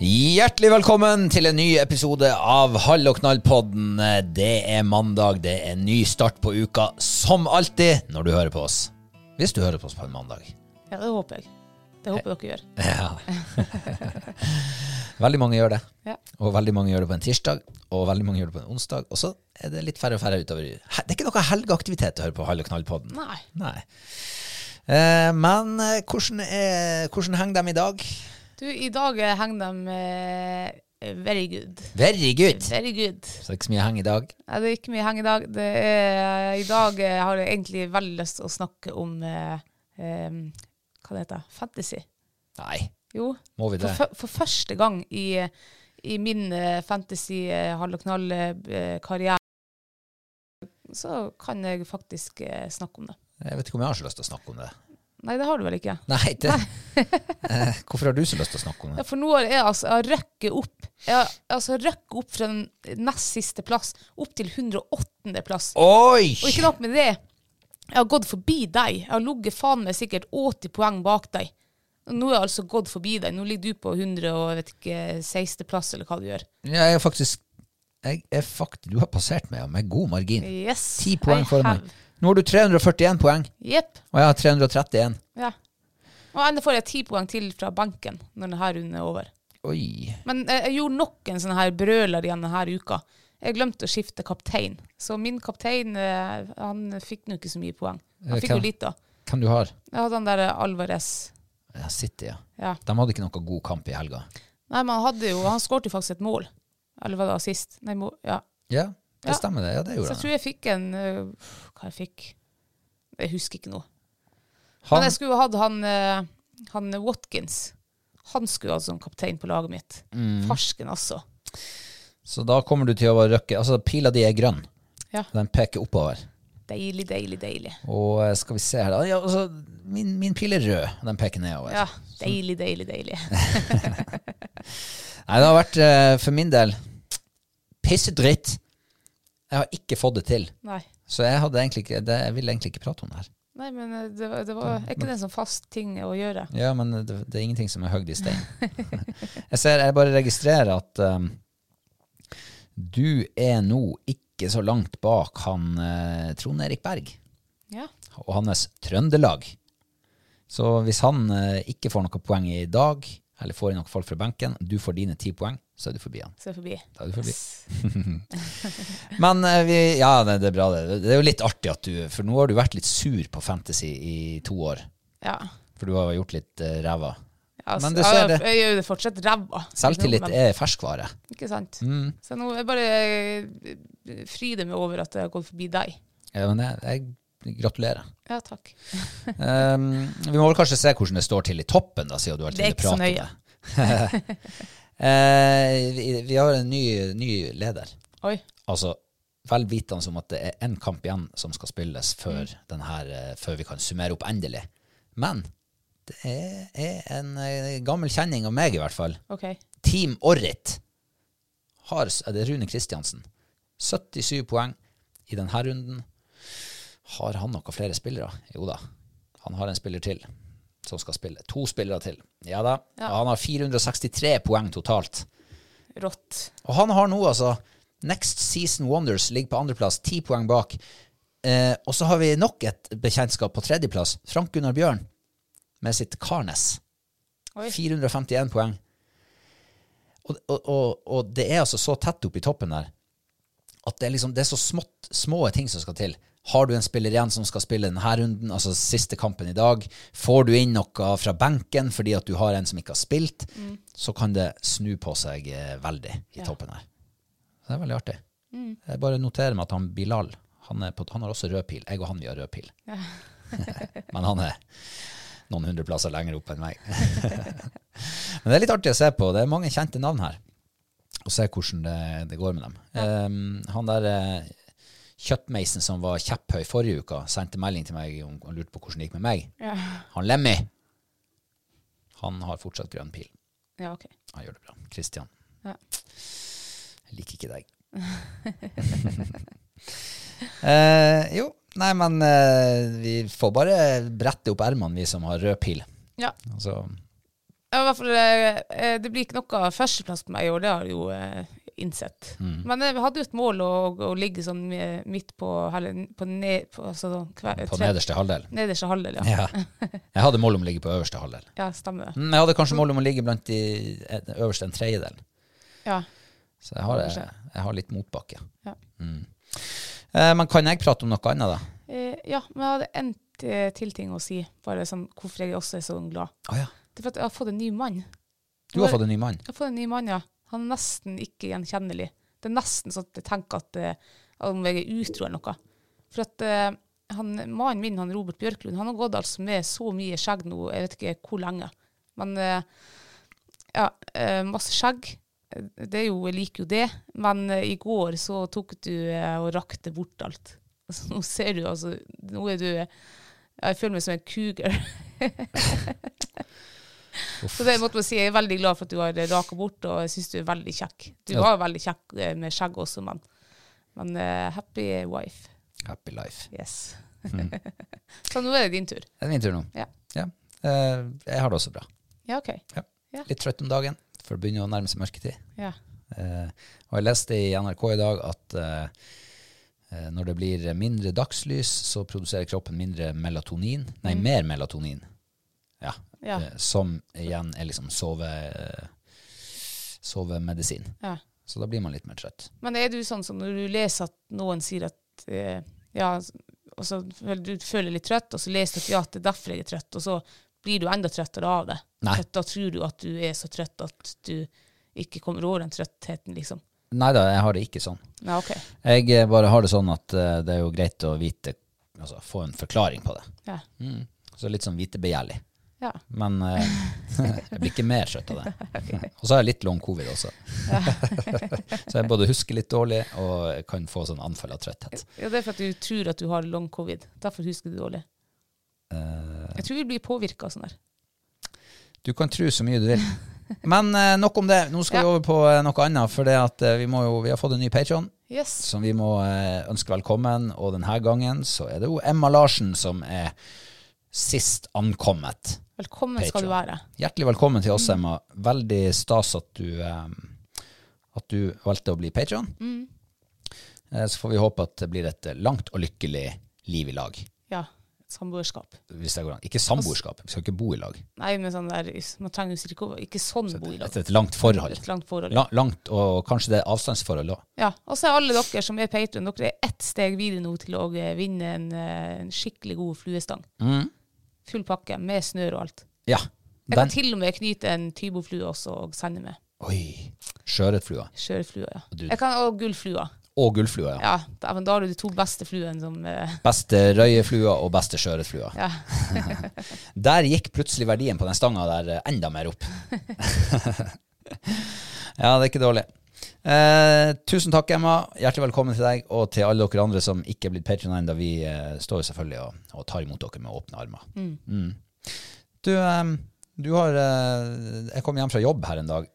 Hjertelig velkommen til en ny episode av Hall og knall-podden. Det er mandag, det er en ny start på uka, som alltid når du hører på oss. Hvis du hører på oss på en mandag. Ja, det håper jeg. Det håper dere gjør. Ja. veldig mange gjør det. Ja. Og veldig mange gjør det på en tirsdag, og veldig mange gjør det på en onsdag. Og så er det litt færre og færre utover Det er ikke noe helgeaktivitet å høre på Hall og knall-podden. Nei. Nei. Eh, men eh, hvordan, er, hvordan henger de i dag? Du, i dag eh, henger de eh, very good. Very good. Very good. Så det er ikke så mye heng i dag. Nei, det er ikke mye heng i dag. Det er, I dag eh, har jeg egentlig veldig lyst til å snakke om eh, eh, Hva det heter Fantasy. Nei, Jo. må vi det? For, fø- for første gang i, i min eh, fantasy eh, hall og knall-karriere så kan jeg faktisk eh, snakke om det. Jeg vet ikke om jeg har så lyst til å snakke om det. Nei, det har du vel ikke? Nei, det, Eh, hvorfor har du så lyst til å snakke om Ja, det? for nå har jeg altså jeg har røkket opp. Jeg har altså røkket opp fra den nest siste plass opp til 108. plass. Oi! Og ikke nok med det. Jeg har gått forbi deg. Jeg har ligget faen meg sikkert 80 poeng bak deg. Og Nå har jeg altså gått forbi deg. Nå ligger du på 100 og jeg vet ikke, 16. plass, eller hva du gjør. Jeg er faktisk jeg er fakt, Du har passert meg med god margin. Yes. Ti poeng I foran have. meg. Nå har du 341 poeng, Jepp. og jeg har 331. Ja. Og enda får jeg ti poeng til fra benken når denne runden er over. Oi. Men eh, jeg gjorde nok en sånn her brøler igjen denne uka. Jeg glemte å skifte kaptein. Så min kaptein eh, han fikk nå ikke så mye poeng. Eh, Han fikk hvem? jo litt, da. Hvem du har? Jeg hadde han der eh, Alvarez. Ja, City, ja. Ja. De hadde ikke noe god kamp i helga. Nei, men han hadde jo Han skåret jo faktisk et mål. Eller var det assist? Nei, må, ja. Ja, Ja. det stemmer det. Ja, det Så gjorde jeg han. tror jeg fikk en eh, Hva jeg fikk? Jeg husker ikke nå. Men han. jeg skulle jo hatt han, eh, han Watkins. Han skulle jo hatt som kaptein på laget mitt. Mm. Farsken, altså. Så da kommer du til å røkke Altså, pila di er grønn. Ja. Den peker oppover. Deilig, deilig, deilig. Og eh, skal vi se her da. Ja, altså, min, min pil er rød, og den peker nedover. Ja, deilig, deilig, deilig. Nei, det har vært eh, for min del pissedritt. Jeg har ikke fått det til. Nei. Så jeg, hadde egentlig ikke, det, jeg ville egentlig ikke prate om det her. Nei, men eh, det, var- det var Mm. er ikke det en sånn fast ting å gjøre. Ja, men det, det er ingenting som er høgd i stein. jeg, ser, jeg bare registrerer at ehm, du er nå ikke så langt bak han eh, Trond Erik Berg Ja. og hans Trøndelag. Så hvis han eh, ikke får noen poeng i dag, eller får inn noen folk fra benken, du får dine ti poeng, så er du forbi han. Se forbi. Da er du forbi. Men eh, vi, ja, det, det er bra det. Det er jo litt artig at du For nå har du vært litt sur på Fantasy i to år. Ja. For du har gjort litt eh, ræva. Altså, Men du ser det. Jeg, jeg gjør det fortsatt ræva. Selvtillit Men- er Mm. ferskvare. Ikke sant. Så nå jeg bare eh, fryder meg over at jeg har gått forbi deg. Ja, men jeg, jeg gratulerer. Ja, takk. Um, vi må vel kanskje se hvordan det står til i toppen, da, siden du alltid Det er ikke så prater om nøye. det. Eh, vi, vi har en ny, ny leder. Oi. Altså, vel vitende som at det er én kamp igjen som skal spilles før, den her, eh, før vi kan summere opp endelig. Men det er, er en eh, gammel kjenning av meg, i hvert fall. OK. Team Orrit har er det Rune Kristiansen. 77 poeng i denne runden. Har han noen flere spillere? Jo da, han har en spiller til som skal spille. To spillere til. Ja da. Ja. Han har 463 poeng totalt. Rått. Og han har nå altså Next Season Wonders ligger på andreplass, ti poeng bak. Eh, og så har vi nok et bekjentskap på tredjeplass. Frank Gunnar Bjørn med sitt Karnes. Oi. 451 poeng. Og, og, og, og det er altså så tett opp i toppen der at det er, liksom, det er så smått, små ting som skal til. Har du en spiller igjen som skal spille denne runden, altså siste kampen i dag, får du inn noe fra benken fordi at du har en som ikke har spilt, så kan det snu på seg eh, veldig i toppen her. Så det er veldig artig. Jeg bare noterer meg at han Bilal, han, er på, han har også rød pil. Jeg og han, vi har rød pil. Men han er noen hundre plasser lenger opp enn meg. Men det er litt artig å se på. Det er mange kjente navn her. Og se hvordan det, det går med dem. Ehm, han der eh, kjøttmeisen som var kjepphøy forrige uke, sendte melding til meg om- og lurte på hvordan det gikk med meg. Ja. Han Lemmy, han har fortsatt grønn pil. ja, OK. Han gjør det bra. Kristian. Ja. Jeg liker ikke deg. eh, jo, nei, men eh, vi får bare brette opp ermene, vi som har rød pil. Ja. Altså, Ja, i hvert fall, eh, eh, det blir ikke noe førsteplass på meg i år, det har jeg jo eh, innsett. Mm. Men eh, vi hadde jo et mål å, å ligge sånn eh, midt på, eller på, ned, på, altså, hver, på nederste halvdel. nederste halvdel. Ja. Ja. Jeg hadde mål om å ligge på øverste halvdel. ja, stemmer det. Mm, Jeg hadde kanskje mål om å ligge blant de eh, øverste en tredjedel. Ja. Så jeg har, Kanskje. jeg har litt motbakke. Ja. Mm. Eh, men kan jeg prate om noe annet, da? Eh, ja, men jeg hadde en eh, til ting å si, bare sånn, hvorfor jeg også er så glad. Å ja. Det er for at jeg har fått en ny mann. Du har fått en ny mann. Jeg har fått en ny mann, ja. Han er nesten ikke gjenkjennelig. Det er nesten sånn at jeg tenker at eh, om jeg er utro eller noe. For at eh, han, mannen min, han Robert Bjørklund, han har gått altså med så mye skjegg nå, jeg vet ikke hvor lenge. Men eh, ja, eh, masse skjegg. Eh, Det er jo, jeg liker jo det. Men eh, i går så tok du eh, og rakte bort alt. Så nå ser du altså Nå er du Jeg føler meg som en cougar. Så det måtte man si, jeg er veldig glad for at du har raka bort, og jeg syns du er veldig kjekk. Du Ja. var jo veldig kjekk eh, med skjegg også, men, men eh, happy wife. Happy life. Yes. Mm. så nå er det din tur. Det er min tur nå. Ja. Eh, jeg har det også bra. Ja, OK. Ja. Litt trøtt om dagen, for det begynner å nærme seg mørketid. Ja. Eh, og jeg leste i NRK i dag at eh, eh, når det blir mindre dagslys, så produserer kroppen mindre melatonin. Nei, Mm. mer melatonin. Ja. Ja. Eh, som igjen er liksom sove, eh, sovemedisin. ja. Så da blir man litt mer trøtt. Men er du sånn som når du leser at noen sier at eh, ja, og så føler du føler litt trøtt, og så leser du at ja, det er derfor jeg er trøtt, og så blir du enda trøttere av det. Nei. For at Da tror du at du er så trøtt at du ikke kommer over den trøttheten, liksom. Nei da, jeg har det ikke sånn. Ja, OK. Jeg eh, bare har det sånn at eh, det er jo greit å vite Altså få en forklaring på det. Ja. Mm. Så litt sånn vitebegjærlig. ja. Men eh, jeg blir ikke mer trøtt av det. Og så har jeg litt long covid også. så jeg både husker litt dårlig og kan få sånn anfall av trøtthet. Ja, det er for at du tror at du har long covid. Derfor husker du dårlig. Eh, Jeg tror vi blir påvirka av sånn der. du kan tro så mye du vil. Men eh, nok om det. Nå skal vi Ja. over på eh, noe annet. For det at, eh, vi, må jo, vi har fått en ny Patron Yes. som vi må eh, ønske velkommen. Og denne gangen så er det jo Emma Larsen som er sist ankommet. Velkommen skal du være. Hjertelig velkommen til Mm. oss, Emma. Veldig stas at du, eh, at du valgte å bli patron. Mm. Så får vi håpe at det blir et eh, langt og lykkelig liv i lag. Ja. Samboerskap. Hvis det går an. Ikke samboerskap, vi skal ikke bo i lag. Nei, men sånn der Man trenger jo ikke å- Ikke sånn bo i lag. Et, et langt forhold. Et langt forhold. La, langt, og kanskje det er avstandsforhold òg. Ja. Og så er alle dere som er patron, dere er ett steg videre nå til å eh, vinne en, eh, en skikkelig god fluestang. Full pakke, med snør og alt. Ja. Jeg kan Mm. Den. til og med knyte en tyboflue også og sende med. Oi. Sjøørretflua. Skjørflua, ja. Du- Jeg kan, og gullflua. og gullflua, ja. Ja, da, men da har du de to beste fluene som eh, Beste røyeflua og beste sjøørretflua. Ja. Der gikk plutselig verdien på den stanga der eh, enda mer opp. ja, det er ikke dårlig. Eh, tusen takk, Emma. Hjertelig velkommen til deg og til alle dere andre som ikke er blitt patrion ennå. Vi eh, står jo selvfølgelig og, og tar imot dere med åpne armer. Mm. Du, eh, du har eh, Jeg kom hjem fra jobb her en dag,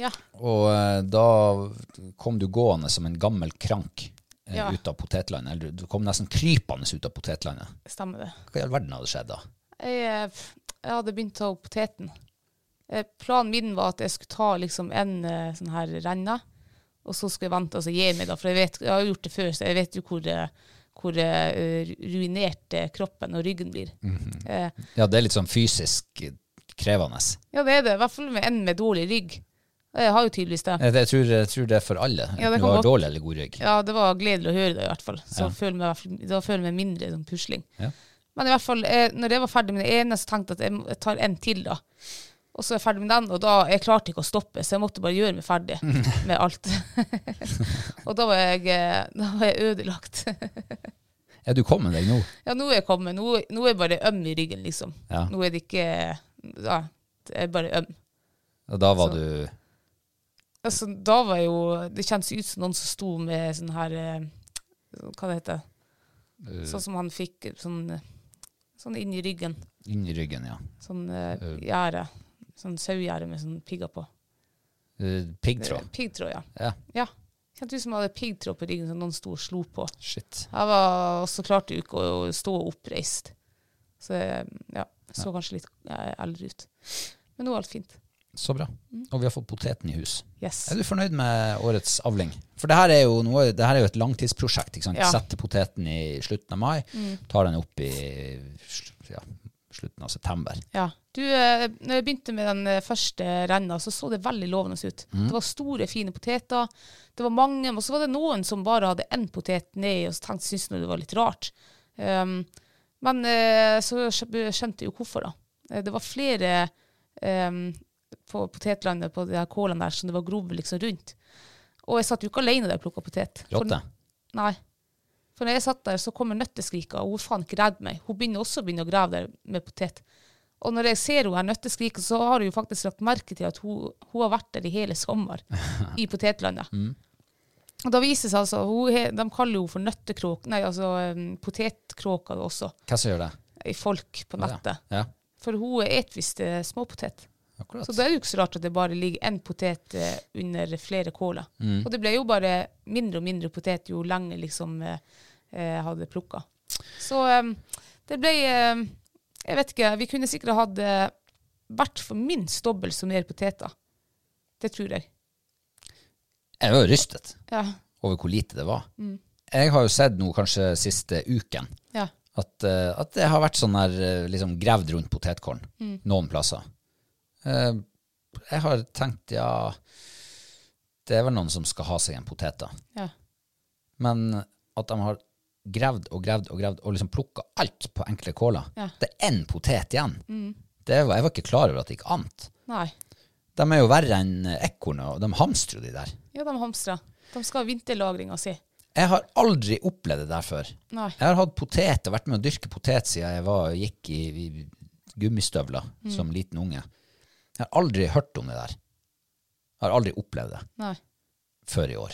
Ja. og eh, da kom du gående som en gammel krank eh, Ja. ut av potetlandet. Eller du du kom nesten krypende ut av potetlandet. Stemmer det. Hva i all verden hadde skjedd da? Jeg, eh, f- jeg hadde begynt å ta opp poteten. Eh, Planen min var at jeg skulle ta liksom en eh, sånn her renne, og så skulle jeg vente og så gi meg, da, for jeg, vet, jeg har jo gjort det før, så jeg vet jo hvor, eh, hvor eh, ru- ruinert eh, kroppen og ryggen blir. eh, Ja, det er litt sånn fysisk krevende. ja, det er det. I hvert fall med en med dårlig rygg. Og Jeg har jo tydeligvis det. Jeg, jeg, tror, jeg tror det er for alle. Ja, det du kan har godt- dårlig eller god rygg. Ja, det var gledelig å høre det, i hvert fall. Så Ja. føler jeg meg, i hvert fall- da føler jeg meg mindre som pusling. Ja. Men i hvert fall, eh, når jeg var ferdig med det ene, så tenkte jeg at jeg må- jeg tar en til, da. Og så er jeg ferdig med den, og da jeg klarte ikke å stoppe, så jeg måtte bare gjøre meg ferdig med alt. og da var jeg, eh, da var jeg ødelagt. Er du kommet deg nå? ja, nå er jeg kommet. Nå, nå er jeg bare øm i ryggen, liksom. Ja. Nå er det ikke Ja, jeg er bare øm. Og da var Så- du Altså, da var jeg jo Det kjennes ut som noen som sto med sånn her eh, Hva det heter Sånn som han fikk eh, sånn, eh, sånn inn i ryggen. inn i ryggen, ja. Sånn eh, gjerde. Sånn sauegjerde med sånn pigger på. Eh, Piggtråd. Eh, Piggtråd, ja. Ja. ja. Kjente ut som jeg hadde piggtråd på ryggen som noen sto og slo på. Shit. Jeg var også klarte jo ikke å stå oppreist. Så eh, ja, så kanskje litt eh, eldre ut. Men nå er alt fint. Så bra. Mm. Og vi har fått poteten i hus. Yes. Er du fornøyd med årets avling? For det her er jo, noe, det her er jo et langtidsprosjekt. Ikke sant? Ja. Mm. Setter poteten i slutten av mai, tar den opp i sl- ja, slutten av september. Ja. Du, eh, når jeg begynte med den eh, første renna, så så det veldig lovende ut. Det var store, fine poteter. Det var mange, og så var det noen som bare hadde én potet ned, og så tenkte syntes nå det var litt rart. Um, men eh, så skj- skjønte jeg jo hvorfor, da. Eh, Det var flere em, på potetlandet på de her kålene der som det var grove liksom rundt. Og jeg satt jo ikke alene der og plukka potet. For- Rotte? Nei. For når jeg satt der, så kommer nøtteskrika, og hun faen ikke redder meg. Hun begynner også å begynne å grave der med potet. Og når jeg ser hun her nøtteskrika, så har jeg jo faktisk lagt merke til at hun, hun har vært der i hele sommer, i potetlandet. Og da viser det seg altså, hun, he- de kaller jo for nøttekråk, nei, altså em, potetkråka også, Hva som gjør det? i folk på nettet. Ja, For hun et visst eh, småpotet. akkurat. Så da er det jo ikke så rart at det bare ligger én potet eh, under flere kåler. Og det ble jo bare mindre og mindre potet jo lenger liksom eh, eh, hadde plukka. Så eh, det ble eh, Jeg vet ikke, vi kunne sikkert hatt eh, hvert for minst dobbelt så mer poteter. Det tror jeg. Jeg var jo rystet Ja. over hvor lite det var. Mm. Jeg har jo sett nå kanskje siste uken ja. at, eh, at det har vært sånn her eh, liksom gravd rundt potetkorn Mm. noen plasser. Eh, jeg har tenkt, ja, det er vel noen som skal ha seg en potet da. ja. Men at de har gravd og gravd og gravd og liksom plukka alt på enkle kåler. Ja. Mm. Det er én potet igjen. Det var, jeg var ikke klar over at det gikk annet. Nei. De er jo verre enn ekornet, og de hamstrer jo de der. Ja, de hamstrer. De skal ha vinterlagringa si. Jeg har aldri opplevd det der før. Nei. Jeg har hatt potet og vært med å dyrke potet siden jeg var, gikk i, i gummistøvler Mm. som liten unge. Jeg har aldri hørt om det der. Jeg har aldri opplevd det Nei. før i år.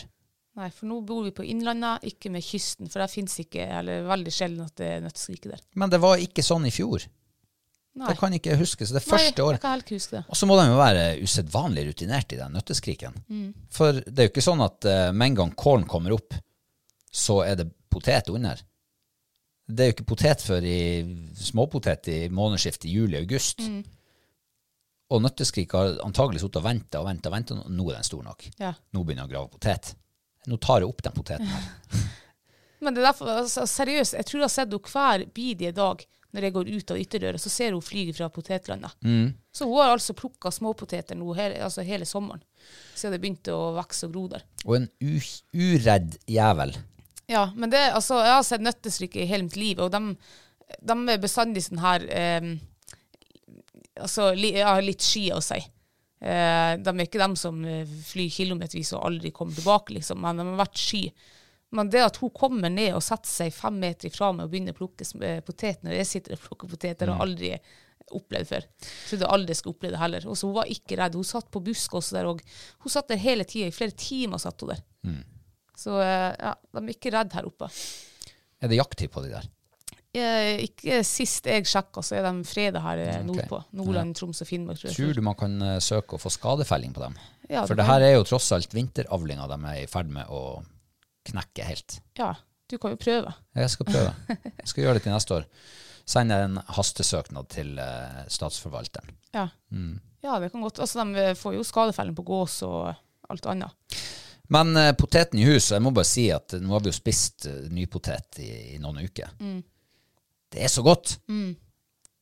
Nei, for nå bor vi på Innlandet, ikke med kysten. For der fins ikke, eller veldig sjelden at det er nøtteskrike der. Men det var ikke sånn i fjor. Nei. Det kan ikke jeg huske. Så det Nei, første Jeg året kan heller ikke huske det. Og så må de jo være usedvanlig rutinert i den nøtteskriken. For det er jo ikke sånn at eh, med en gang kålen kommer opp, så er det potet under. Det er jo ikke potet før i småpotet i månedsskiftet juli-august. Og nøtteskrik har antagelig sittet og venta og venta, og ventet, og nå er den stor nok. Ja. Nå begynner jeg å grave potet. Nå tar jeg opp den poteten. her. Men det er derfor, altså, seriøst, jeg tror jeg har sett henne hver bidige dag når jeg går ut av ytterdøra, så ser hun flyge fra potetlandet. Så hun har altså plukka småpoteter nå hele, altså hele sommeren, siden det begynte å vokse og gro der. Og en u uredd jævel. Ja, men det, altså, jeg har sett nøttestrikke i hele mitt liv, og de, de er bestandig sånn her eh, altså, li, ja, litt sky av seg. Eh, de er ikke dem som eh, flyr kilometervis og aldri kommer tilbake, liksom, men de har vært sky. Men det at hun kommer ned og setter seg fem meter ifra meg og begynner å plukke sm- eh, poteter når jeg sitter og plukker poteter, har jeg aldri opplevd før. Trodde aldri jeg skulle oppleve det heller. Og så hun var ikke redd. Hun satt på busk også der òg. Hun satt der hele tida. I flere timer satt hun der. Så eh, ja, de er ikke redd her oppe. Er det jakttid på de der? Eh, Ikke sist jeg sjekka, så er de fredag her eh, Mm, Ok. nordpå. Nordland, Troms og Finnmark, tror jeg. Tror du man kan eh, søke å få skadefelling på dem? Ja, For du det kan- her er jo tross alt vinteravlinga de er i ferd med å knekke helt. Ja, du kan jo prøve. Jeg skal prøve. Jeg skal gjøre det til neste år. Send en hastesøknad til eh, statsforvalteren. Ja. Mm. ja, det kan godt. Altså, de får jo skadefelling på gås og alt annet. Men eh, poteten i hus, jeg må bare si at nå har vi jo spist eh, nypotet i, i noen uker. Mm. Det er så godt! Det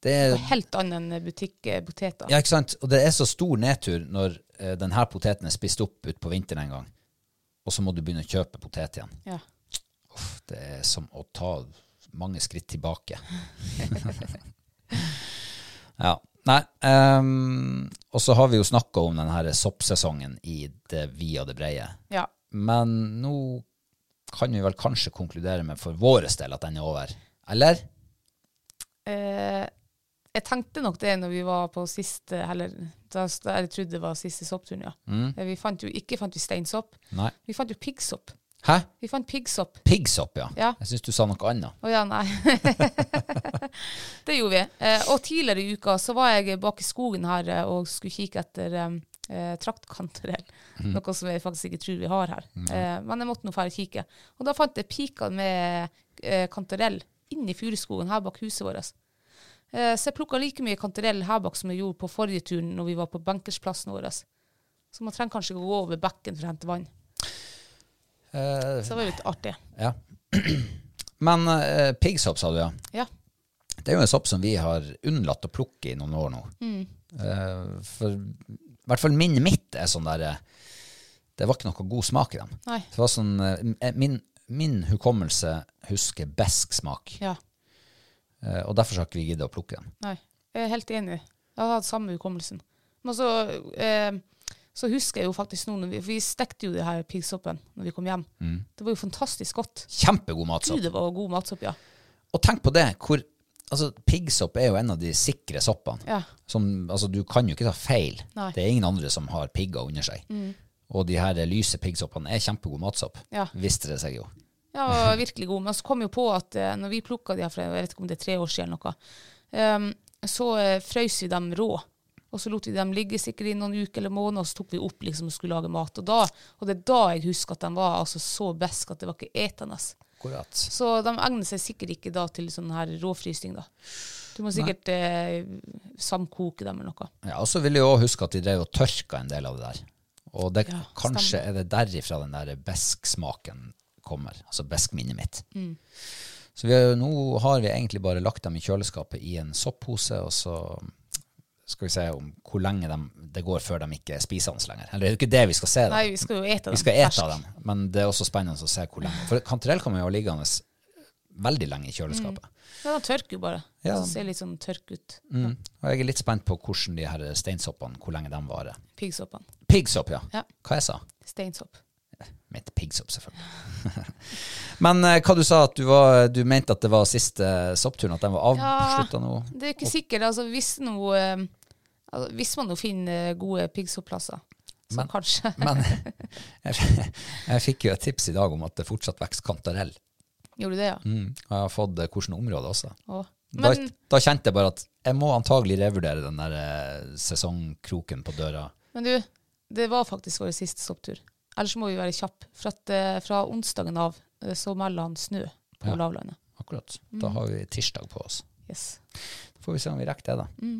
Det er, er Mm. helt annet enn eh, butikkpoteter. ja, ikke sant? Og det er så stor nedtur når eh, denne poteten er spist opp utpå vinteren en gang, og så må du begynne å kjøpe potet igjen. Ja. Uff, det er som å ta mange skritt tilbake. ja. Nei. ehm, og så har vi jo snakka om den her soppsesongen i det vide og det breie. ja. Men nå kan vi vel kanskje konkludere med for vår del at den er over. Eller? Eh, jeg tenkte nok det når vi var på siste Eller da s- da jeg trodde det var siste soppturen, ja. Eh, Vi fant jo, ikke fant vi steinsopp. Mm. Nei. Vi fant jo piggsopp. Hæ? Vi fant piggsopp. Piggsopp, ja. Ja. Jeg syns du sa noe annet. Å ja, nei. det gjorde vi. Eh, og tidligere i uka så var jeg bak i skogen her eh, og skulle kikke etter um, eh, traktkantarell. Noe som jeg faktisk ikke tror vi har her. Eh, men jeg måtte nå dra og kikke. Og da fant jeg piker med eh, kantarell inni furuskogen her bak huset vårt. Eh, så jeg plukka like mye kantarell her bak som jeg gjorde på forrige turen når vi var på benkersplassen vår. Så man trenger kanskje ikke gå over bekken for å hente vann. Eh, Så det var jo litt artig. ja. Men eh, piggsopp, sa du, ja. Ja. Det er jo en sopp som vi har unnlatt å plukke i noen år nå. Mm. Eh, for i hvert fall min mitt er sånn der eh, Det var ikke noe god smak i dem. Nei. Det var sånn, eh, min, min hukommelse husker besk smak, Ja. eh, og derfor så har ikke vi giddet å plukke dem. Nei, jeg er helt enig. Jeg har hatt samme hukommelsen. Men så, eh, så husker jeg jo faktisk nå, når vi, for vi stekte jo det her piggsoppen når vi kom hjem. Det var jo fantastisk godt. Kjempegod Gud, matsopp. det var god matsopp, ja. Og tenk på det, hvor altså, Piggsopp er jo en av de sikre soppene. Ja. Som, altså, du kan jo ikke ta feil. Nei. Mm. Det er ingen andre som har pigger under seg. Og de her lyse piggsoppene er kjempegod matsopp, Ja. visste det seg jo. Ja, og virkelig god. Men så kom jeg jo på at eh, når vi plukka de her for jeg vet ikke om det er tre år siden eller noe, ehm, så eh, frøs vi dem rå. Og så lot vi dem ligge sikkert i noen uker eller måneder, og så tok vi opp liksom og skulle lage mat. Og, da, og det er da jeg husker at de var altså, så besk at det var ikke etende. Akkurat. Så de egner seg sikkert ikke da til sånn her råfrysing, da. Du må sikkert eh, samkoke dem eller noe. Ja, og så vil jeg jo også huske at de drev og tørka en del av det der. Og det, Ja, kanskje er det derifra den der besksmaken kommer, altså beskminnet mitt. Mm. Så vi har, jo- nå har vi egentlig bare lagt dem i kjøleskapet i en sopppose, og så skal vi se om hvor lenge dem, det går før de ikke er spisende lenger. Eller det er jo ikke det vi skal se. Nei, Dem. vi skal jo ete dem. Vi skal ete fersk. av dem, men det er også spennende å se hvor lenge. For kantarell kan man jo ha liggende veldig lenge i kjøleskapet. Ja, de tørker jo bare. Ja. Så ser litt sånn tørk ut. Mm. Og jeg er litt spent på hvordan de her steinsoppene, hvor lenge de varer. Piggsoppene. Piggsopp, ja. Ja. Hva jeg sa? Steinsopp. Mitt piggsopp, selvfølgelig. Men eh, hva du sa at du, var, du mente at det var siste eh, soppturen, at den var Ja, avslutta nå? Det er ikke sikkert. Altså, hvis, noe, eh, altså, hvis man nå finner gode piggsoppplasser, så Men- kanskje Men jeg, jeg fikk jo et tips i dag om at det fortsatt vokser kantarell. Gjorde du det, ja? Mm. Og jeg har fått eh, hvilke områder også. Å. da, Men, da kjente jeg bare at jeg må antagelig revurdere den der eh, sesongkroken på døra. men du, det var faktisk vår siste sopptur. Ellers må vi være kjappe. For at, eh, fra onsdagen av eh, så melder han snø på Ja. lavlandet. Akkurat. Da har vi tirsdag på oss. Yes. Får vi se om vi rekker det, da. Mm.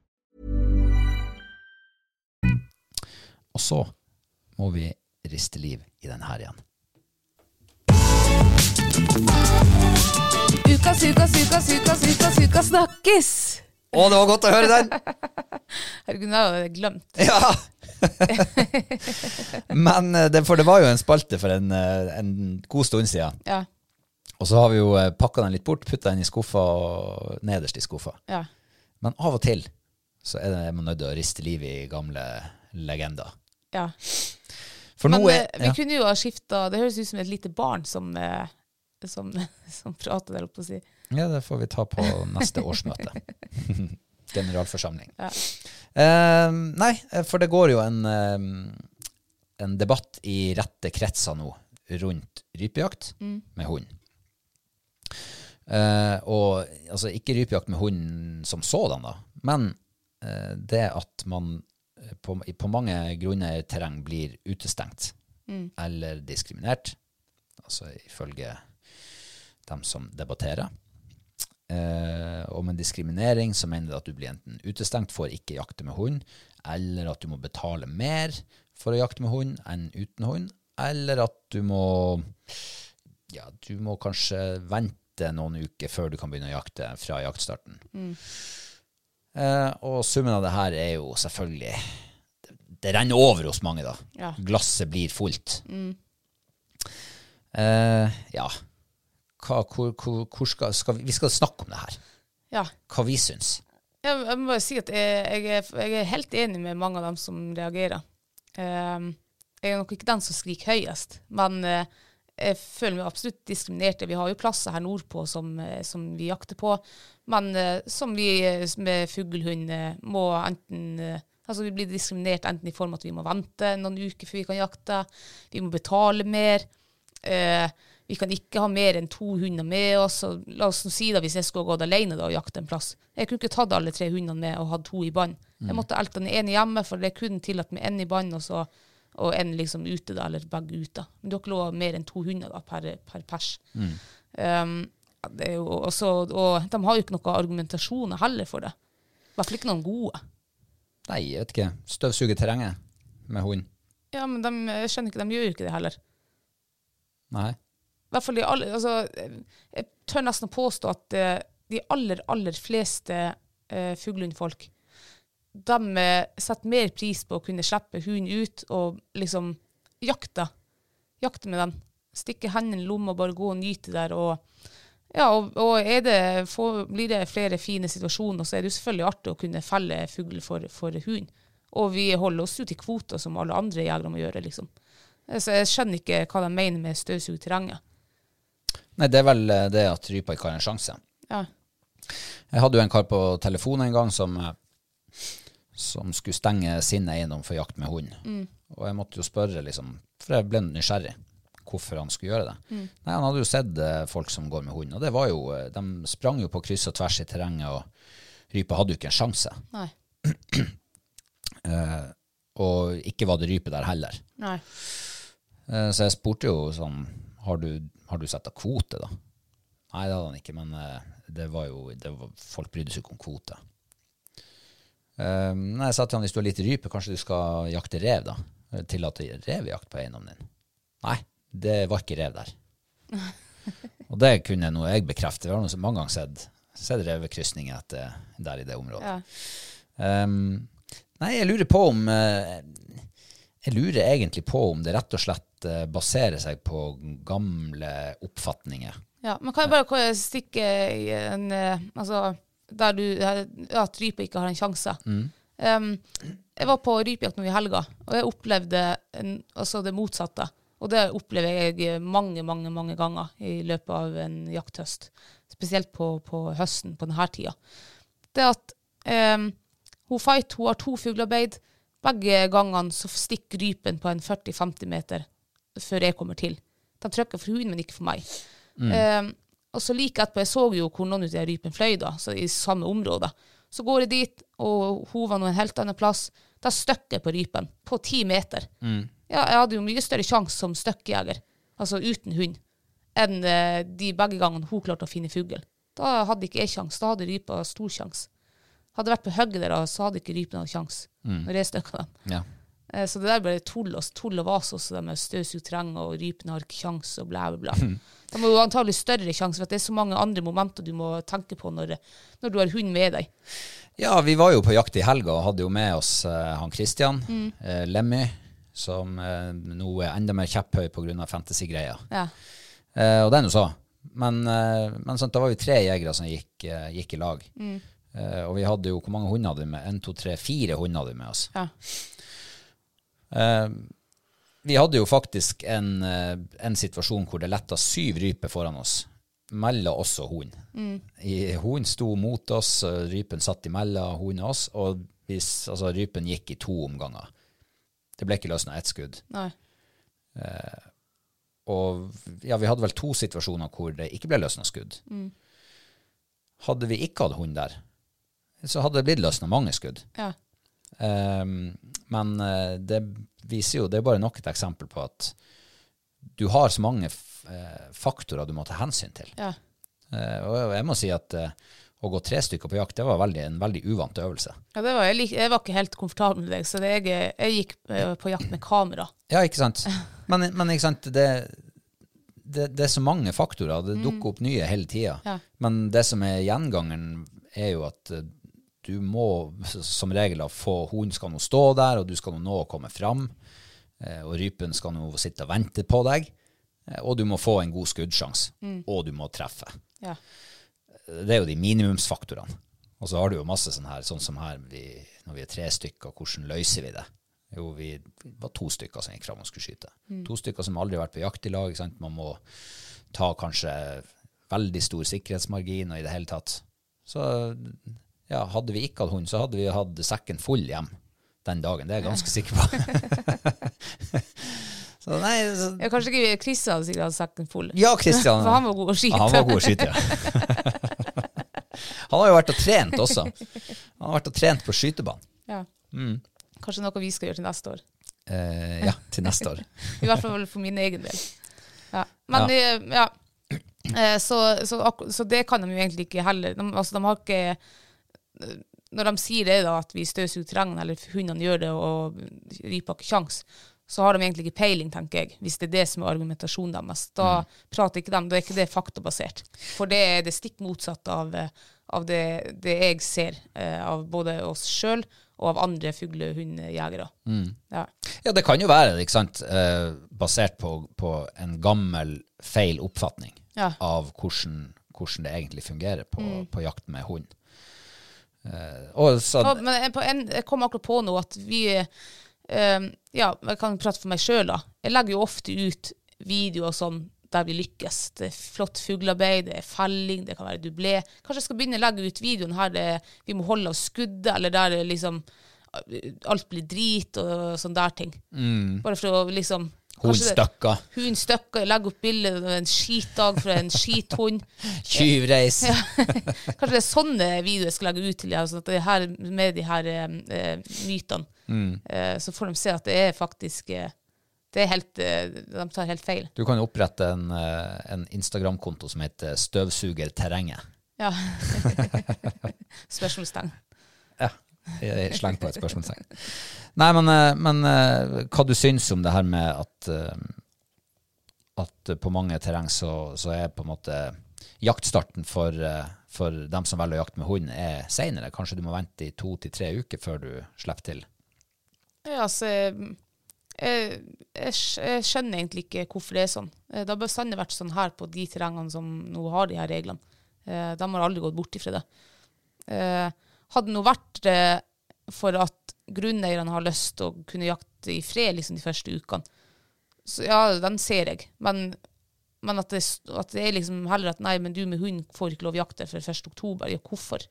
Og så må vi riste liv i den her igjen. Ukas, ukas, ukas, ukas, ukas, ukas snakkes! Å, det var godt å høre den! Herregud, nå har jeg glemt. Ja! Men eh, det, for det var jo en spalte for en, eh, en god stund siden. Ja, Og så har vi jo eh, pakka den litt bort, putta den i skuffa og nederst i skuffa. ja. Men av og til så er det- er man nødt til å riste liv i gamle legender. ja. For Men nå er eh, vi ja. kunne jo ha skifta Det høres ut som et lite barn som, eh, som, som prater der oppe og sier ja, det får vi ta på neste årsmøte. Generalforsamling. Ja. Eh, nei, for det går jo en, eh, en debatt i rette kretser nå rundt rypejakt med hund. Eh, og altså ikke rypejakt med hund som sådan, da, men eh, det at man eh, på, i- på mange grunneierterreng blir utestengt eller diskriminert, altså ifølge dem som debatterer. Eh, og med diskriminering så mener det at du blir enten utestengt, får ikke jakte med hund, eller at du må betale mer for å jakte med hund enn uten hund, eller at du må ja, du må kanskje vente noen uker før du kan begynne å jakte fra jaktstarten. Eh, og summen av det her er jo selvfølgelig det, det renner over hos mange, da. Ja. Glasset blir fullt. Eh, ja. Hva, hvor, hvor, hvor skal, skal vi, vi skal snakke om det her. Ja. Hva vi syns. Jeg, jeg må bare si at jeg, jeg, er, jeg er helt enig med mange av dem som reagerer. Ehm, jeg er nok ikke den som skriker høyest, men eh, jeg føler meg absolutt diskriminert. Vi har jo plasser her nordpå som, eh, som vi jakter på, men eh, som vi eh, med fuglehund eh, må enten eh, Altså vi blir diskriminert enten i form at vi må vente noen uker før vi kan jakte, vi må betale mer. Eh, vi kan ikke ha mer enn to hunder med oss. Og la oss nå si da, hvis jeg skulle ha gått alene da, og jakte en plass. Jeg kunne ikke tatt alle tre hundene med og hatt to i bånd. Jeg måtte elte den ene hjemme, for det er kun tillatt med én i bånd og, så- og én liksom ute, da, eller begge ute. Men det er ikke lov å ha mer enn to hunder da, per, per pers. Um, ja, det er jo også, og de har jo ikke noen argumentasjoner heller for det. I hvert fall ikke noen gode. Nei, jeg vet ikke. Støvsuge terrenget med hund. Ja, men de, jeg skjønner ikke, de gjør jo ikke det heller. Nei. I hvert fall de aller, altså, jeg tør nesten å påstå at eh, de aller, aller fleste eh, fuglehundfolk de eh, setter mer pris på å kunne slippe hunden ut og liksom jakte. Jakte med den. Stikke hendene i lomma og bare gå og nyte der. Og, ja, og, og er det, får, blir det flere fine situasjoner, så er det jo selvfølgelig artig å kunne felle fugl for, for hund. Og vi holder oss jo til kvoter, som alle andre jegere må gjøre. liksom. Så jeg skjønner ikke hva de mener med støvsugeterrenget. Nei, det er vel eh, det at rypa ikke har en sjanse. Ja. Jeg hadde jo en kar på telefonen en gang som, eh, som skulle stenge sin eiendom for jakt med hund. Og jeg måtte jo spørre, liksom, for jeg ble nysgjerrig, hvorfor han skulle gjøre det. Nei, han hadde jo sett eh, folk som går med hund, og det var jo, eh, de sprang jo på kryss og tvers i terrenget, og rypa hadde jo ikke en sjanse. Nei. Eh, og ikke var det rype der heller. Nei. Eh, Så jeg spurte jo sånn Har du, har du sett av kvote, da? Nei, det hadde han ikke, men eh, det var jo det var, Folk brydde seg ikke om kvote. Eh, Nei, jeg sa til han hvis du har lite rype, kanskje du skal jakte rev, da? Eh, Tillate revjakt på eiendommen din? Nei, det var ikke rev der. Og det kunne noe jeg bekrefte. Vi har noe som mange ganger sett, sett revekrysninger etter, der i det området. Ja. Ehm, nei, jeg lurer på om eh, Jeg lurer egentlig på om det rett og slett eh, baserer seg på gamle oppfatninger. ja. Men kan jeg bare ko- stikke i en eh, Altså, der du ja, At rypa ikke har en sjanse. Um, jeg var på rypejakt nå i helga, og jeg opplevde en, altså det motsatte. Og det opplever jeg mange, mange mange ganger i løpet av en jakthøst. Spesielt på, på høsten, på denne tida. Det at um, Hun fight, hun har to fuglearbeid. Begge gangene så stikker rypen på en 40-50 meter før jeg kommer til. De trykker for hunden, men ikke for meg. Eh, og så like etterpå, jeg så jo hvor noen av de rypene fløy, da, så i samme område. Så går jeg dit, og hun var nå en helt annen plass. Da støkker jeg på rypen, på ti meter. Ja, jeg hadde jo mye større sjanse som støkkjeger, altså uten hund, enn eh, de begge gangene hun klarte å finne fugl. Da hadde ikke jeg sjanse, da hadde rypa stor sjanse. Hadde jeg vært på hugget der, så hadde ikke rypene hatt sjanse når jeg støkka dem. Ja. Eh, Så det der bare tull og, tull og vas også, det med støvsugd terreng og rypene har ikke sjans og bla, bla, bla. De har jo antagelig større sjanse, for at det er så mange andre momenter du må tenke på når, når du har hund med deg. Ja, vi var jo på jakt i helga og hadde jo med oss eh, han Christian, eh, Lemmy, som eh, nå er enda mer kjepphøy pga. fantasy-greia. Ja. Eh, og den hun sa. Men, eh, men sant, da var vi tre jegere som gikk, eh, gikk i lag. Eh, og vi hadde jo, hvor mange hunder hadde vi med? En, to, tre, fire hunder hadde vi med oss. Ja. Eh, vi hadde jo faktisk en, eh, en situasjon hvor det letta syv ryper foran oss, mellom oss og hunden. I- Hunden sto mot oss, eh, rypen satt imellom hunden og oss, og vi, s- altså, rypen gikk i to omganger. Det ble ikke løsna ett skudd. Nei. Og ja, vi hadde vel to situasjoner hvor det ikke ble løsna skudd. Hadde vi ikke hatt hund der, så hadde det blitt løsna mange skudd. Ja. Um, men eh, det viser jo, det er bare nok et eksempel på at du har så mange f- eh, faktorer du må ta hensyn til. Ja. Eh, og jeg må si at eh, å gå tre stykker på jakt, det var veldig, en veldig uvant øvelse. ja det var, jeg, lik, jeg var ikke helt komfortabel med deg, så det, jeg, jeg gikk eh, på jakt med kamera. Ja, ikke sant? Men, men ikke sant, det, det, det er så mange faktorer, det dukker opp nye hele tida. Ja. Men det som er gjengangeren, er jo at eh, du må som regel da få hunden skal nå stå der, og du skal nå nå å komme fram, eh, og rypen skal nå sitte og vente på deg, eh, og du må få en god skuddsjanse, og du må treffe. Ja. Det er jo de minimumsfaktorene. Og så har du jo masse sånn her, sånn som her, vi, når vi er tre stykker, hvordan løser vi det? Jo, vi var to stykker som gikk fram og skulle skyte. To stykker som aldri har vært på jakt i lag. ikke Sant? Man må ta kanskje veldig stor sikkerhetsmargin og i det hele tatt. Så ja, hadde vi ikke hatt hund, så hadde vi hatt sekken full hjem den dagen. Det er jeg ganske sikker på. så nei, så, Jeg, kanskje ikke Chris hadde sikkert hatt sekken full. ja, Kristian. For han var god å skyte. Ja, han var god å skyte, ja. han har jo vært og trent også. Han har vært og trent på skytebanen. Ja. Mm. Kanskje noe vi skal gjøre til neste år. Eh, ja, til neste år. I hvert fall for min egen del. Ja. Men ja. ja. Eh, Så, så, ak- så det kan de jo egentlig ikke heller. De, altså, de har ikke eh, Når de sier det da, at vi støvsuger terrenget, eller hundene gjør det, og rypa har ikke kjangs, så har de egentlig ikke peiling, tenker jeg, hvis det er det som er argumentasjonen deres. Da prater ikke de, da er ikke det faktabasert. For det er det stikk motsatte av, eh, av det, det jeg ser eh, av både oss sjøl og av andre fuglehundjegere. Ja. Ja, det kan jo være, ikke sant, eh, basert på, på en gammel feil oppfatning Ja. av hvordan, hvordan det egentlig fungerer på, på jakt med hund. Eh, og så, Ja, men jeg- på en, jeg kom akkurat på noe at vi eh, ehm, Ja, jeg kan prate for meg sjøl, da. Jeg legger jo ofte ut videoer og sånn der vi lykkes. Det er flott fuglearbeid, det er felling, det kan være dublé. Kanskje jeg skal begynne å legge ut videoen her det, vi må holde av skuddet, eller der det liksom eh, alt blir drit og sånn der ting. Bare for å liksom hund kanskje det- stakka, Hund støkker, legger opp bilde av en skitdag fra en skithund. tyvreis. Kanskje det er sånne videoer jeg skal legge ut til dem, sånn at det her, med de her eh, eh, mytene. Eh, så får de se at det er faktisk eh, det er helt, eh, De tar helt feil. Du kan jo opprette en, eh, en Instagram-konto som heter Støvsugerterrenget. Ja. Spørsmålstegn. Jeg slenger på et spørsmålstegn. Nei, men, eh, men eh, hva du syns om det her med at, eh, at på mange terreng så, så er på en måte jaktstarten for, eh, for dem som velger å jakte med hund, er seinere. Kanskje du må vente i to til tre uker før du slipper til. Ja, altså eh, jeg, jeg, skj- jeg skjønner egentlig ikke hvorfor det er sånn. Eh, Det har bestandig vært sånn her på de terrengene som nå har de her reglene. Eh, De har aldri gått bort ifra det. Eh, Hadde det nå vært eh, for at grunneierne har lyst til å kunne jakte i fred liksom de første ukene, så ja, den ser jeg. Men, men at, det, at det er liksom heller at nei, men du med hund får ikke lov å jakte før 1. oktober. Ja, hvorfor?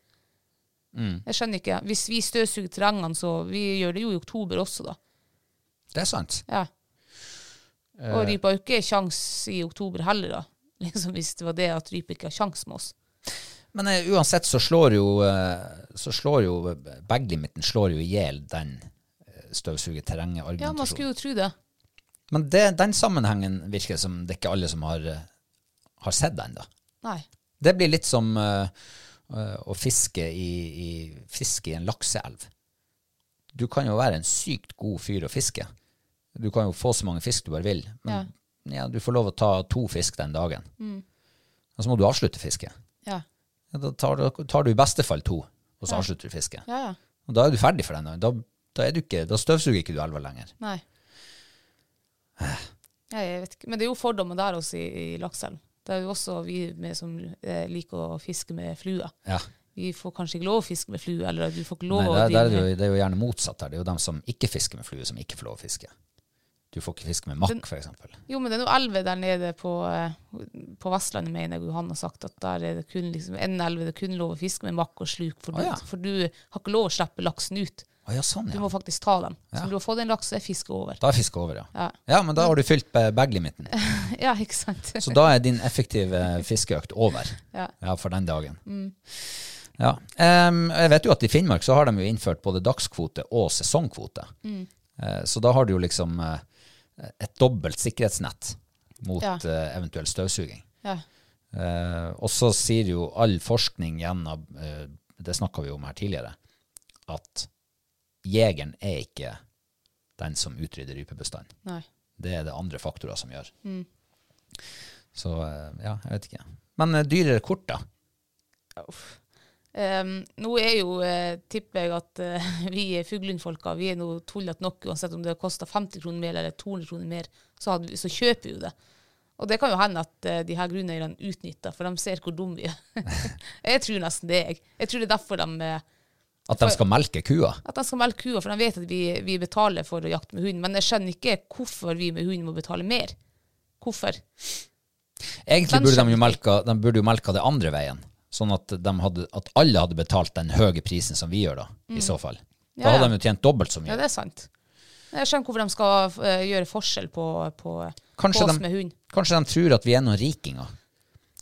Jeg skjønner ikke. Hvis vi støvsuger terrengene, så Vi gjør det jo i oktober også, da. Det er sant. Ja. Og rypa har jo ikke kjangs i oktober heller, da. Liksom Hvis det var det at rypa ikke har kjangs med oss. Men eh, uansett så slår jo, eh, så slår jo baglimiten slår jo i hjel den eh, Ja, man støvsugerterrenget-argumentasjonen. skulle jo tro det. Men det, den sammenhengen virker som det ikke alle som har, eh, har sett den, da. Nei. Det blir litt som eh, eh, å fiske i, i, fiske i en lakseelv. Du kan jo være en sykt god fyr å fiske. Du kan jo få så mange fisk du bare vil, men ja. du får lov å ta to fisk den dagen. Mm. Og så må du avslutte fisket. Ja. Ja, Da tar du, tar du i beste fall to, og så avslutter du fisket. Ja, ja. Og da er du ferdig for den dagen. Da, da, er du ikke, da støvsuger ikke du elva lenger. Nei. Nei, jeg vet ikke. Men det er jo fordommer der også i, i lakseelv. Det er jo også vi med som eh, liker å fiske med flua. Ja. Vi får kanskje ikke lov å fiske med flue, eller du får ikke lov Nei, å der, der er drive det, med- jo, det er jo gjerne motsatt her. Det er jo dem som ikke fisker med flue, som ikke får lov å fiske. Du får ikke fiske med makk, for eksempel. Jo, men det er noe elver der nede på, eh, på Vestlandet, mener jeg han har sagt, at der er det kun liksom, en elve det er kun lov å fiske med makk og sluk, for, Å, ja. du, for du har ikke lov å slippe laksen ut. Å ja, sånn, Du ja. må faktisk ta dem. Så Ja. når du har fått en laks, så er fisket over. Da er fisket over, ja. ja. Ja. men da har du fylt eh, bag-limiten. ja, ikke sant? Så da er din effektive eh, fiskeøkt over. Ja. for den dagen. Mm. Ja. Em, jeg vet jo at i Finnmark så har de jo innført både dagskvote og sesongkvote. Mm. Eh, så da har du jo liksom eh, et dobbelt sikkerhetsnett mot Ja. eh, eventuell støvsuging. Ja. Eh, og så sier jo all forskning gjennom eh, Det snakka vi om her tidligere. At jegeren er ikke den som utrydder rypebestanden. Nei. Det er det andre faktorer som gjør. Mm. Så eh, ja, jeg vet ikke. Men eh, dyrere kort, da? Em, Ehm, nå er jo, eh, tipper jeg at eh, vi er fuglehundfolka, vi er nå tullete nok, uansett om det koster 50 kroner mer eller 200 kroner mer, så, hadde, vi- så kjøper vi jo det. Og det kan jo hende at eh, de her grunneierne utnytter, for de ser hvor dumme vi er. jeg tror nesten det, jeg. Jeg tror det er derfor de, eh, At de skal melke kua? at de skal melke kua, for de vet at vi, vi betaler for å jakte med hund. Men jeg skjønner ikke hvorfor vi med hund må betale mer. Hvorfor? Egentlig Den burde de, jo skjønte melka, de burde jo melka det andre veien, sånn at, de hadde, at alle hadde betalt den høye prisen som vi gjør, da, i så fall. Da Mm. Ja, ja. hadde de jo tjent dobbelt så Ja, mye. det er sant. Jeg skjønner hvorfor de skal eh, gjøre forskjell på, på, på Kanskje oss de- med hund. Kanskje de tror at vi er noen rikinger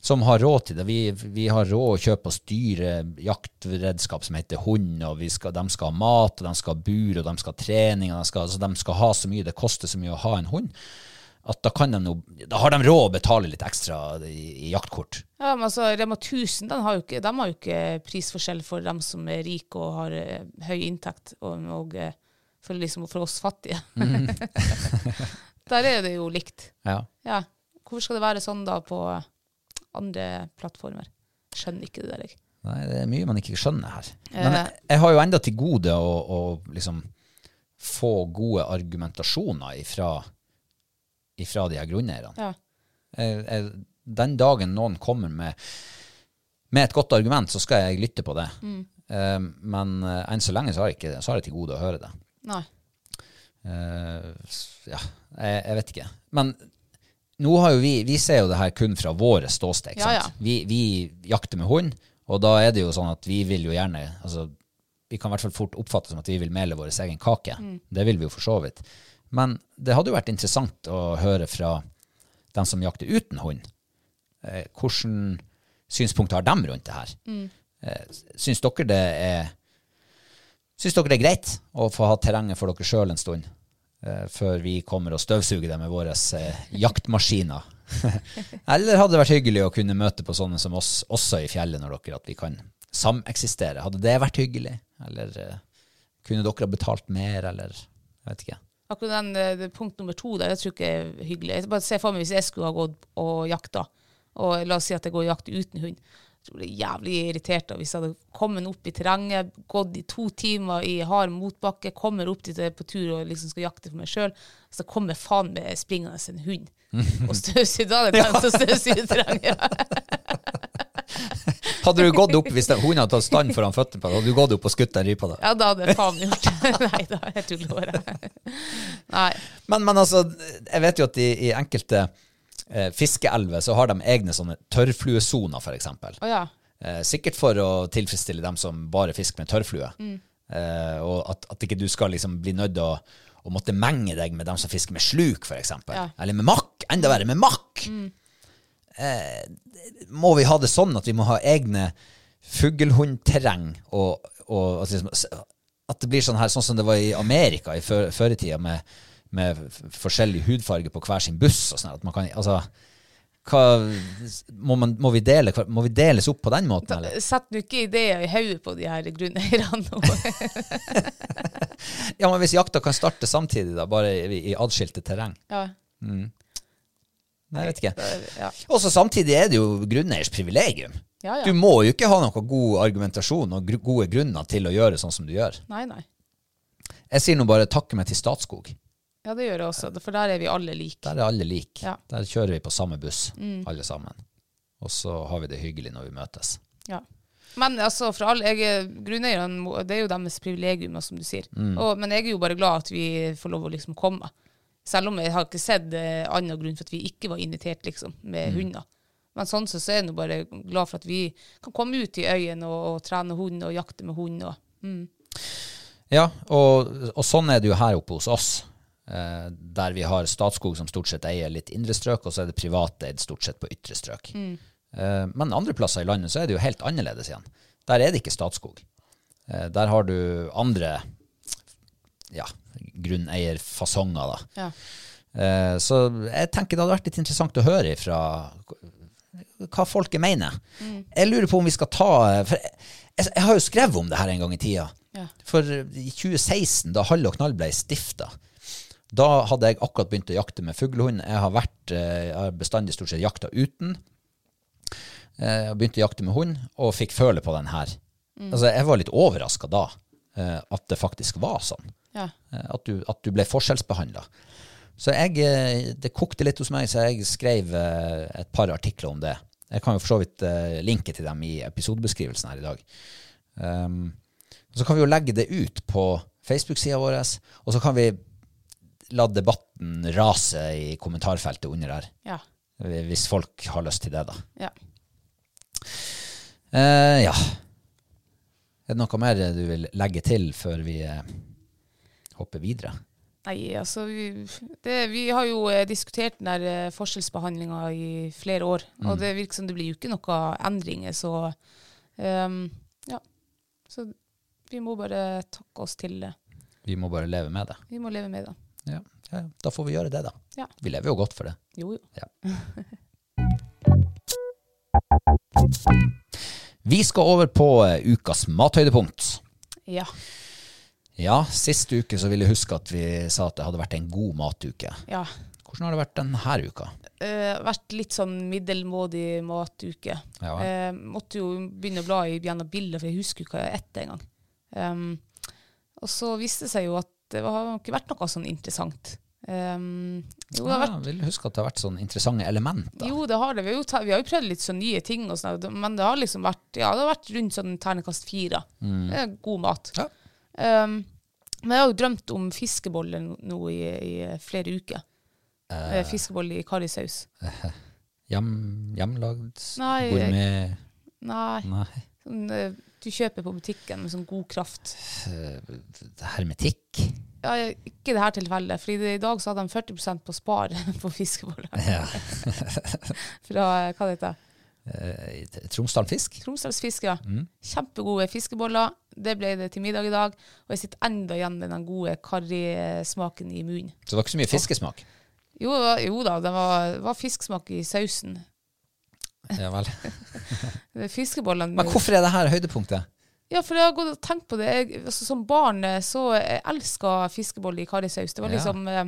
som har råd til det. Vi, vi har råd å kjøpe oss dyre jaktredskap som heter hund, og vi skal, de skal ha mat, og de skal ha bur, og de skal ha trening, og de skal, altså, de skal ha så mye, det koster så mye å ha en hund, at da, kan de no, da har de råd å betale litt ekstra i, i jaktkort. Ja, men altså, Rema 1000 den har jo ikke, de har jo ikke prisforskjell for dem som er rike og har eh, høy inntekt, og, og eh, for, liksom, for oss fattige. Der er det jo likt. Ja. Ja. Hvorfor skal det være sånn da på andre plattformer? Skjønner ikke det der, jeg. Nei, det er mye man ikke skjønner her. Men jeg, jeg har jo enda til gode å, å liksom få gode argumentasjoner ifra, ifra de her grunneierne. Ja. Jeg- jeg- Den dagen noen kommer med, med et godt argument, så skal jeg lytte på det. Eh, men eh, enn så lenge så har jeg, ikke, så har jeg til gode å høre det. Nei. Eh, s- ja, jeg, jeg vet ikke. Men nå har jo vi, vi ser jo det her kun fra våre ståsted. ikke Ja, ja. sant? Vi, vi jakter med hund, og da er det jo sånn at vi vil jo gjerne altså, Vi kan i hvert fall fort oppfattes som at vi vil mele vår egen kake. Mm. Det vil vi jo for så vidt. Men det hadde jo vært interessant å høre fra dem som jakter uten hund. Eh, hvordan synspunkt har dem rundt det her? Mm. Eh, syns dere det er Syns dere det er greit å få ha terrenget for dere sjøl en stund, eh, før vi kommer og støvsuger det med våre eh, jaktmaskiner? Eller hadde det vært hyggelig å kunne møte på sånne som oss også i fjellet, når dere at vi kan sameksistere? Hadde det vært hyggelig? Eller eh, kunne dere ha betalt mer, eller jeg vet ikke. Akkurat den, eh, det, punkt nummer to der, det tror jeg ikke er hyggelig. Jeg bare ser for meg hvis jeg skulle ha gått og jakta, og la oss si at jeg går og jakter uten hund. Jeg tror jeg blir jævlig irritert da, hvis jeg hadde kommet opp i terrenget, gått i to timer i hard motbakke, kommer opp dit jeg er på tur og liksom skal jakte for meg sjøl, så kommer faen meg springende en hund og støvsuger. Da hadde jeg tenkt å støvsuge terrenget. Hadde du gått opp hvis den hunden hadde tatt stand foran føttene på deg, hadde du gått opp og skutt den rypa da? Ja, da hadde jeg faen meg gjort det. Nei da, jeg tuller bare. Nei. Men, men altså, jeg vet jo at i, i enkelte eh, fiskeelver så har de egne sånne tørrfluesoner, for eksempel. Å ja. Eh, sikkert for å tilfredsstille dem som bare fisker med tørrflue. Eh, og at, at ikke du skal liksom bli nødt til å, å måtte menge deg med dem som fisker med sluk, f.eks. Ja. Eller med makk. Enda verre, med makk! Eh, må vi ha det sånn at vi må ha egne fuglehundterreng? Og, og at, liksom, s- at det blir sånn her, sånn som det var i Amerika i før, før i tida, med, med f- forskjellig hudfarge på hver sin buss og sånn. her, At man kan, altså, hva, må, man, må, vi dele, hver- må vi deles opp på den måten, eller? Sett nå ikke ideer i hodet på de her grunneierne nå. Ja, men hvis jakta kan starte samtidig, da, bare i, i adskilte terreng? ja. Nei, jeg vet ikke. Ja. Og så samtidig er det jo grunneiers privilegium. Ja, ja. Du må jo ikke ha noen god argumentasjon og gr gode grunner til å gjøre sånn som du gjør. Nei, nei. Jeg sier nå bare takke meg til Statskog. Ja, det gjør jeg også, for der er vi alle like. Der er alle like. Ja. Der kjører vi på samme buss, alle sammen. Og så har vi det hyggelig når vi møtes. Ja. Men altså, for alle, jeg, er- grunneierne må- det er jo deres privilegium, og som du sier. Mm. Og, men jeg er jo bare glad at vi får lov å liksom komme. Selv om jeg har ikke sett eh, annen grunn for at vi ikke var invitert liksom, Mm. med hunder. Men sånn så, så er jeg nå bare glad for at vi kan komme ut i øyene og, og trene hund og jakte med hund. Og, mm. Ja, og, og sånn er det jo her oppe hos oss. Eh, der vi har Statskog som stort sett eier litt indre strøk, og så er det privateid stort sett på ytre strøk. Eh, men andre plasser i landet så er det jo helt annerledes igjen. Der er det ikke Statskog. Eh, der har du andre ja, grunneierfasonger, da. ja. Eh, Så jeg tenker det hadde vært litt interessant å høre ifra hva folket mener. Jeg lurer på om vi skal ta For jeg, jeg, jeg har jo skrevet om det her en gang i tida. Ja. For i 2016, da Hall og Knall ble stifta, da hadde jeg akkurat begynt å jakte med fuglehund. Jeg har, vært, eh, jeg har bestandig stort sett jakta uten. Eh, Jeg begynte å jakte med hund, og fikk føle på den her. Altså, jeg var litt overraska da, eh, at det faktisk var sånn. Ja. Eh, At du, at du ble forskjellsbehandla. Så jeg, eh, det kokte litt hos meg, så jeg skrev eh, et par artikler om det. Jeg kan jo for så vidt eh, linke til dem i episodebeskrivelsen her i dag. Um, og så kan vi jo legge det ut på Facebook-sida vår, og så kan vi la debatten rase i kommentarfeltet under her, Ja. hvis folk har lyst til det, da. Ja. Eh, ja. Er det noe mer du vil legge til før vi eh, hopper videre? Nei, altså vi, det, vi har jo eh, diskutert den der forskjellsbehandlinga i flere år. Og det virker som det blir jo ikke noen endringer, så ehm, Ja. Så vi må bare takke oss til det. Vi må bare leve med det. Vi må leve med det. Ja, ja, ja. Da får vi gjøre det, da. Ja. Vi lever jo godt for det. Jo, jo. Vi skal over på eh, ukas mathøydepunkt. Ja. Ja, sist uke så ville jeg huske at vi sa at det hadde vært en god matuke. ja. Hvordan har det vært denne uka? Eh, vært litt sånn middelmådig matuke. Ja. Eh, måtte jo begynne å bla i gjennom bilder, for jeg husker jo hva jeg ette engang. Um, og så viste det seg jo at det var- har ikke vært noe sånn interessant. Um, jo, det har vært Ja, vil huske at det har vært sånne interessante elementer. Jo, det har det. Vi har jo, ta, vi har jo prøvd litt sånn nye ting, og sånn, men det har liksom vært, ja, det har vært rundt sånn ternekast fire. Det er god mat. Mm. Ja. Um, men jeg har jo drømt om fiskeboller nå i, i flere uker. Uh. Fiskeboller i karrisaus. Hjem, hjemlagd Nei, gourmet Nei, Nei. sånn, eh, du kjøper på butikken med sånn god kraft. eh, Hermetikk. Ja, ikke i det her tilfellet, for i dag så hadde de 40 på spar på fiskeboller. Ja. Fra, eh, hva det heter Eh, Tromsdal Fisk. Tromsdalsfiske. Mm. Kjempegode fiskeboller. Det ble det til middag i dag. Og jeg sitter enda igjen med den gode karrismaken i munnen. Så det var ikke så mye fiskesmak. Jo, det var- jo da, det var, var fisksmak i sausen. Ja vel. Fiskebollene Men hvorfor er det her høydepunktet? Ja, for jeg har gått og tenkt på det. Jeg, altså, som barn eh, så jeg elska fiskeboller i karrisaus. Det var Ja. liksom eh,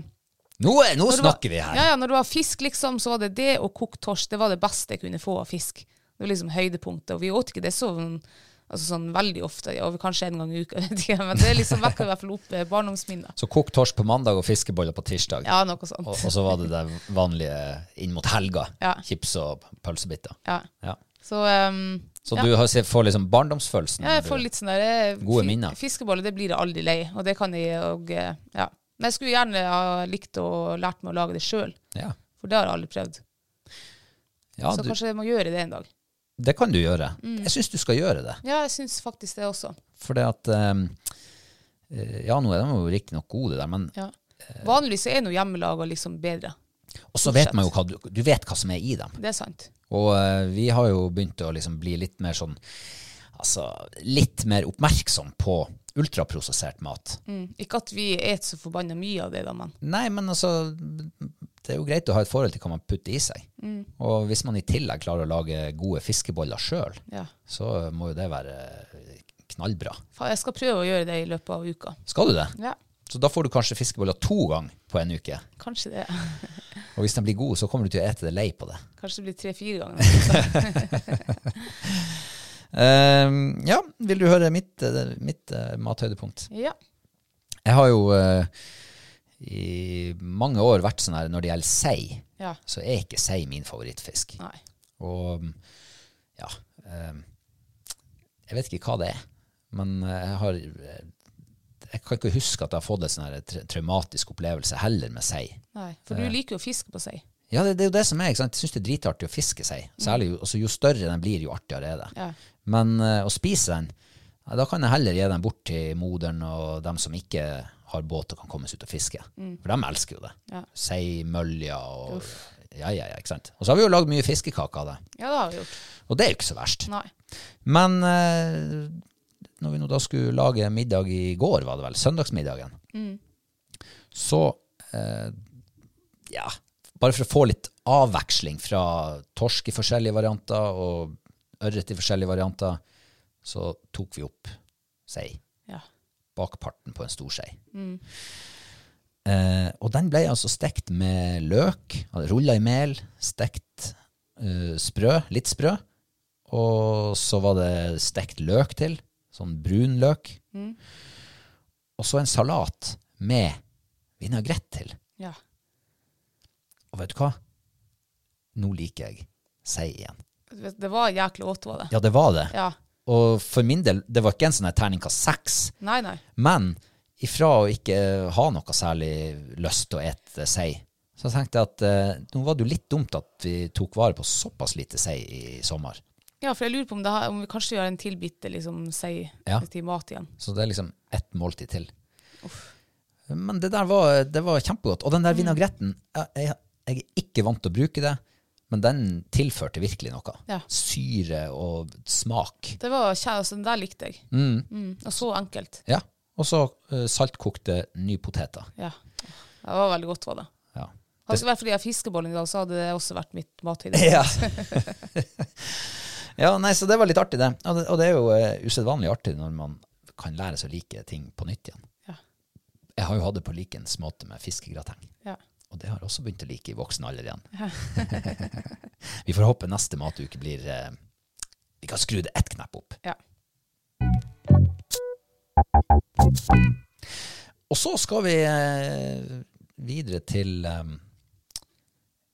Nå, er- nå Når det var- snakker vi her! Ja, ja, når det var fisk, liksom, så var det det og kokt torsk. Det var det beste jeg kunne få av fisk. Det var liksom høydepunktet. Og vi åt ikke det sånn, altså sånn veldig ofte, ja, kanskje en gang i uka, vet ikke. men det liksom vekker i hvert fall opp eh, barndomsminner. Så kokt torsk på mandag og fiskeboller på tirsdag. Ja, noe Og, sånt. og så var det det vanlige inn mot helga. Ja. Chips og pølsebiter. Ja. Ja. Så, ehm, Så ja. du har, se- får liksom barndomsfølelsen? ja, jeg når får du- litt sånn der eh, Gode fi- minner. Fiskeboller, det blir jeg aldri lei, og det kan jeg og, eh, ja. Men jeg skulle gjerne ha likt å lært meg å lage det sjøl, Ja, for det har jeg aldri prøvd. ja så Mm. du, kanskje jeg må gjøre det en dag. Det kan du gjøre. Jeg syns du skal gjøre det. Ja, jeg syns faktisk det også. For det at eh, eh, Ja, nå er de jo riktignok gode, der, men Ja. Vanligvis er nå hjemmelaga liksom bedre. Og så vet man jo hva du, du vet hva som er i dem. Det er sant. Og eh, vi har jo begynt å liksom bli litt mer sånn Altså litt mer oppmerksom på ultraprosessert mat. Mm. Ikke at vi et så forbanna mye av det, da, men Nei, men altså Det er jo greit å ha et forhold til hva man putter i seg. Og hvis man i tillegg klarer å lage gode fiskeboller sjøl, ja. så må jo det være knallbra. Faen, jeg skal prøve å gjøre det i løpet av uka. Skal du det? Ja, Så da får du kanskje fiskeboller to ganger på en uke. kanskje det. Og hvis de blir gode, så kommer du til å ete deg lei på det. Kanskje det blir tre-fire ganger. Ehm, ja, vil du høre mitt, eh, mitt eh, mathøydepunkt? Ja. Jeg har jo eh, i mange år vært sånn her når det gjelder sei, ja. så er ikke sei min favorittfisk. Nei. Og ja eh, Jeg vet ikke hva det er, men eh, jeg har Jeg kan ikke huske at jeg har fått en sånn her tra- traumatisk opplevelse heller med sei. Nei. For du liker jo å fiske på seg. Ja, det, det er jo det som er. ikke sant? Jeg syns det er dritartig å fiske sei. Særlig, jo, altså, jo større den blir, jo artigere er det. Ja. Men eh, å spise den, ja, da kan jeg heller gi den bort til moderen og dem som ikke har båt og kan komme seg ut og fiske. For dem elsker jo det. Ja. Sei, mølja og Ja, ja, ja, ikke sant. Og så har vi jo lagd mye fiskekaker av det. ja, det har vi gjort. Og det er jo ikke så verst. Nei. Men eh, når vi nå da skulle lage middag i går, var det vel, søndagsmiddagen, så eh, Ja, bare for å få litt avveksling fra torsk i forskjellige varianter og ørret i forskjellige varianter, så tok vi opp sei. Ja. Bakparten på en stor sei. Eh, og den ble altså stekt med løk, rulla i mel, stekt eh, sprø, litt sprø. Og så var det stekt løk til, sånn brun løk. Og så en salat med vinagrett til. ja. Og vet du hva? Nå liker jeg sei igjen. Du vet, Det var jæklig godt, var det. Ja, det var det. Ja. Og for min del, det var ikke en sånn her terningkast seks, Nei, nei. men ifra å ikke ha noe særlig lyst til å ete sei, så tenkte jeg at eh, nå var det jo litt dumt at vi tok vare på såpass lite sei i sommer. Ja, for jeg lurer på om, det, har- om vi kanskje gjør en til bitte liksom, sei Ja. til mat igjen. Så det er liksom ett måltid til. Men det der var, det var kjempegodt. Og den der vinagretten jeg, jeg, jeg er ikke vant til å bruke det, men den tilførte virkelig noe. Ja. Syre og smak. Det var kjære, altså, den der likte jeg. Mm, og så enkelt. Ja. Og så eh, saltkokte nypoteter. Ja. Det var veldig godt, var det. Ja. Hadde det ikke vært for de her fiskebollene i dag, så hadde det også vært mitt mathøyde. Ja. ja, nei, så det var litt artig, det. Og det, og det er jo uh, usedvanlig artig når man kan lære seg å like ting på nytt igjen. Ja. Jeg har jo hatt det på likens måte med fiskegrateng. Ja. Og det har jeg også begynt å like i voksen alder igjen. vi får håpe neste matuke blir eh, Vi kan skru det ett knepp opp. Ja. Og så skal vi eh, videre til eh,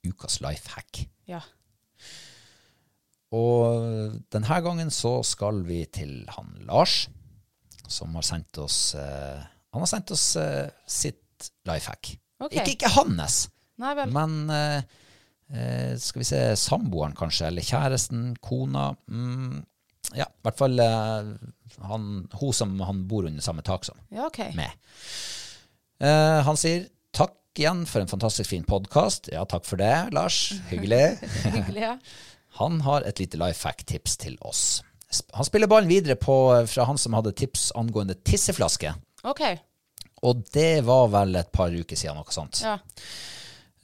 ukas life hack. ja. Og denne gangen så skal vi til han Lars, som har sendt oss eh, Han har sendt oss eh, sitt life hack. Ok. Ikke, ikke hans, Nei vel. men eh, eh, skal vi se Samboeren, kanskje, eller kjæresten, kona mm, Ja, i hvert fall eh, han, hun som han bor under samme tak som Ja, OK. med. Eh, han sier takk igjen for en fantastisk fin podkast. Ja, takk for det, Lars. Hyggelig. Hyggelig, ja. Han har et lite life hack-tips til oss. Sp- Han spiller ballen videre på, eh, fra han som hadde tips angående tisseflaske. OK. Og det var vel et par uker siden, noe sånt. Ja.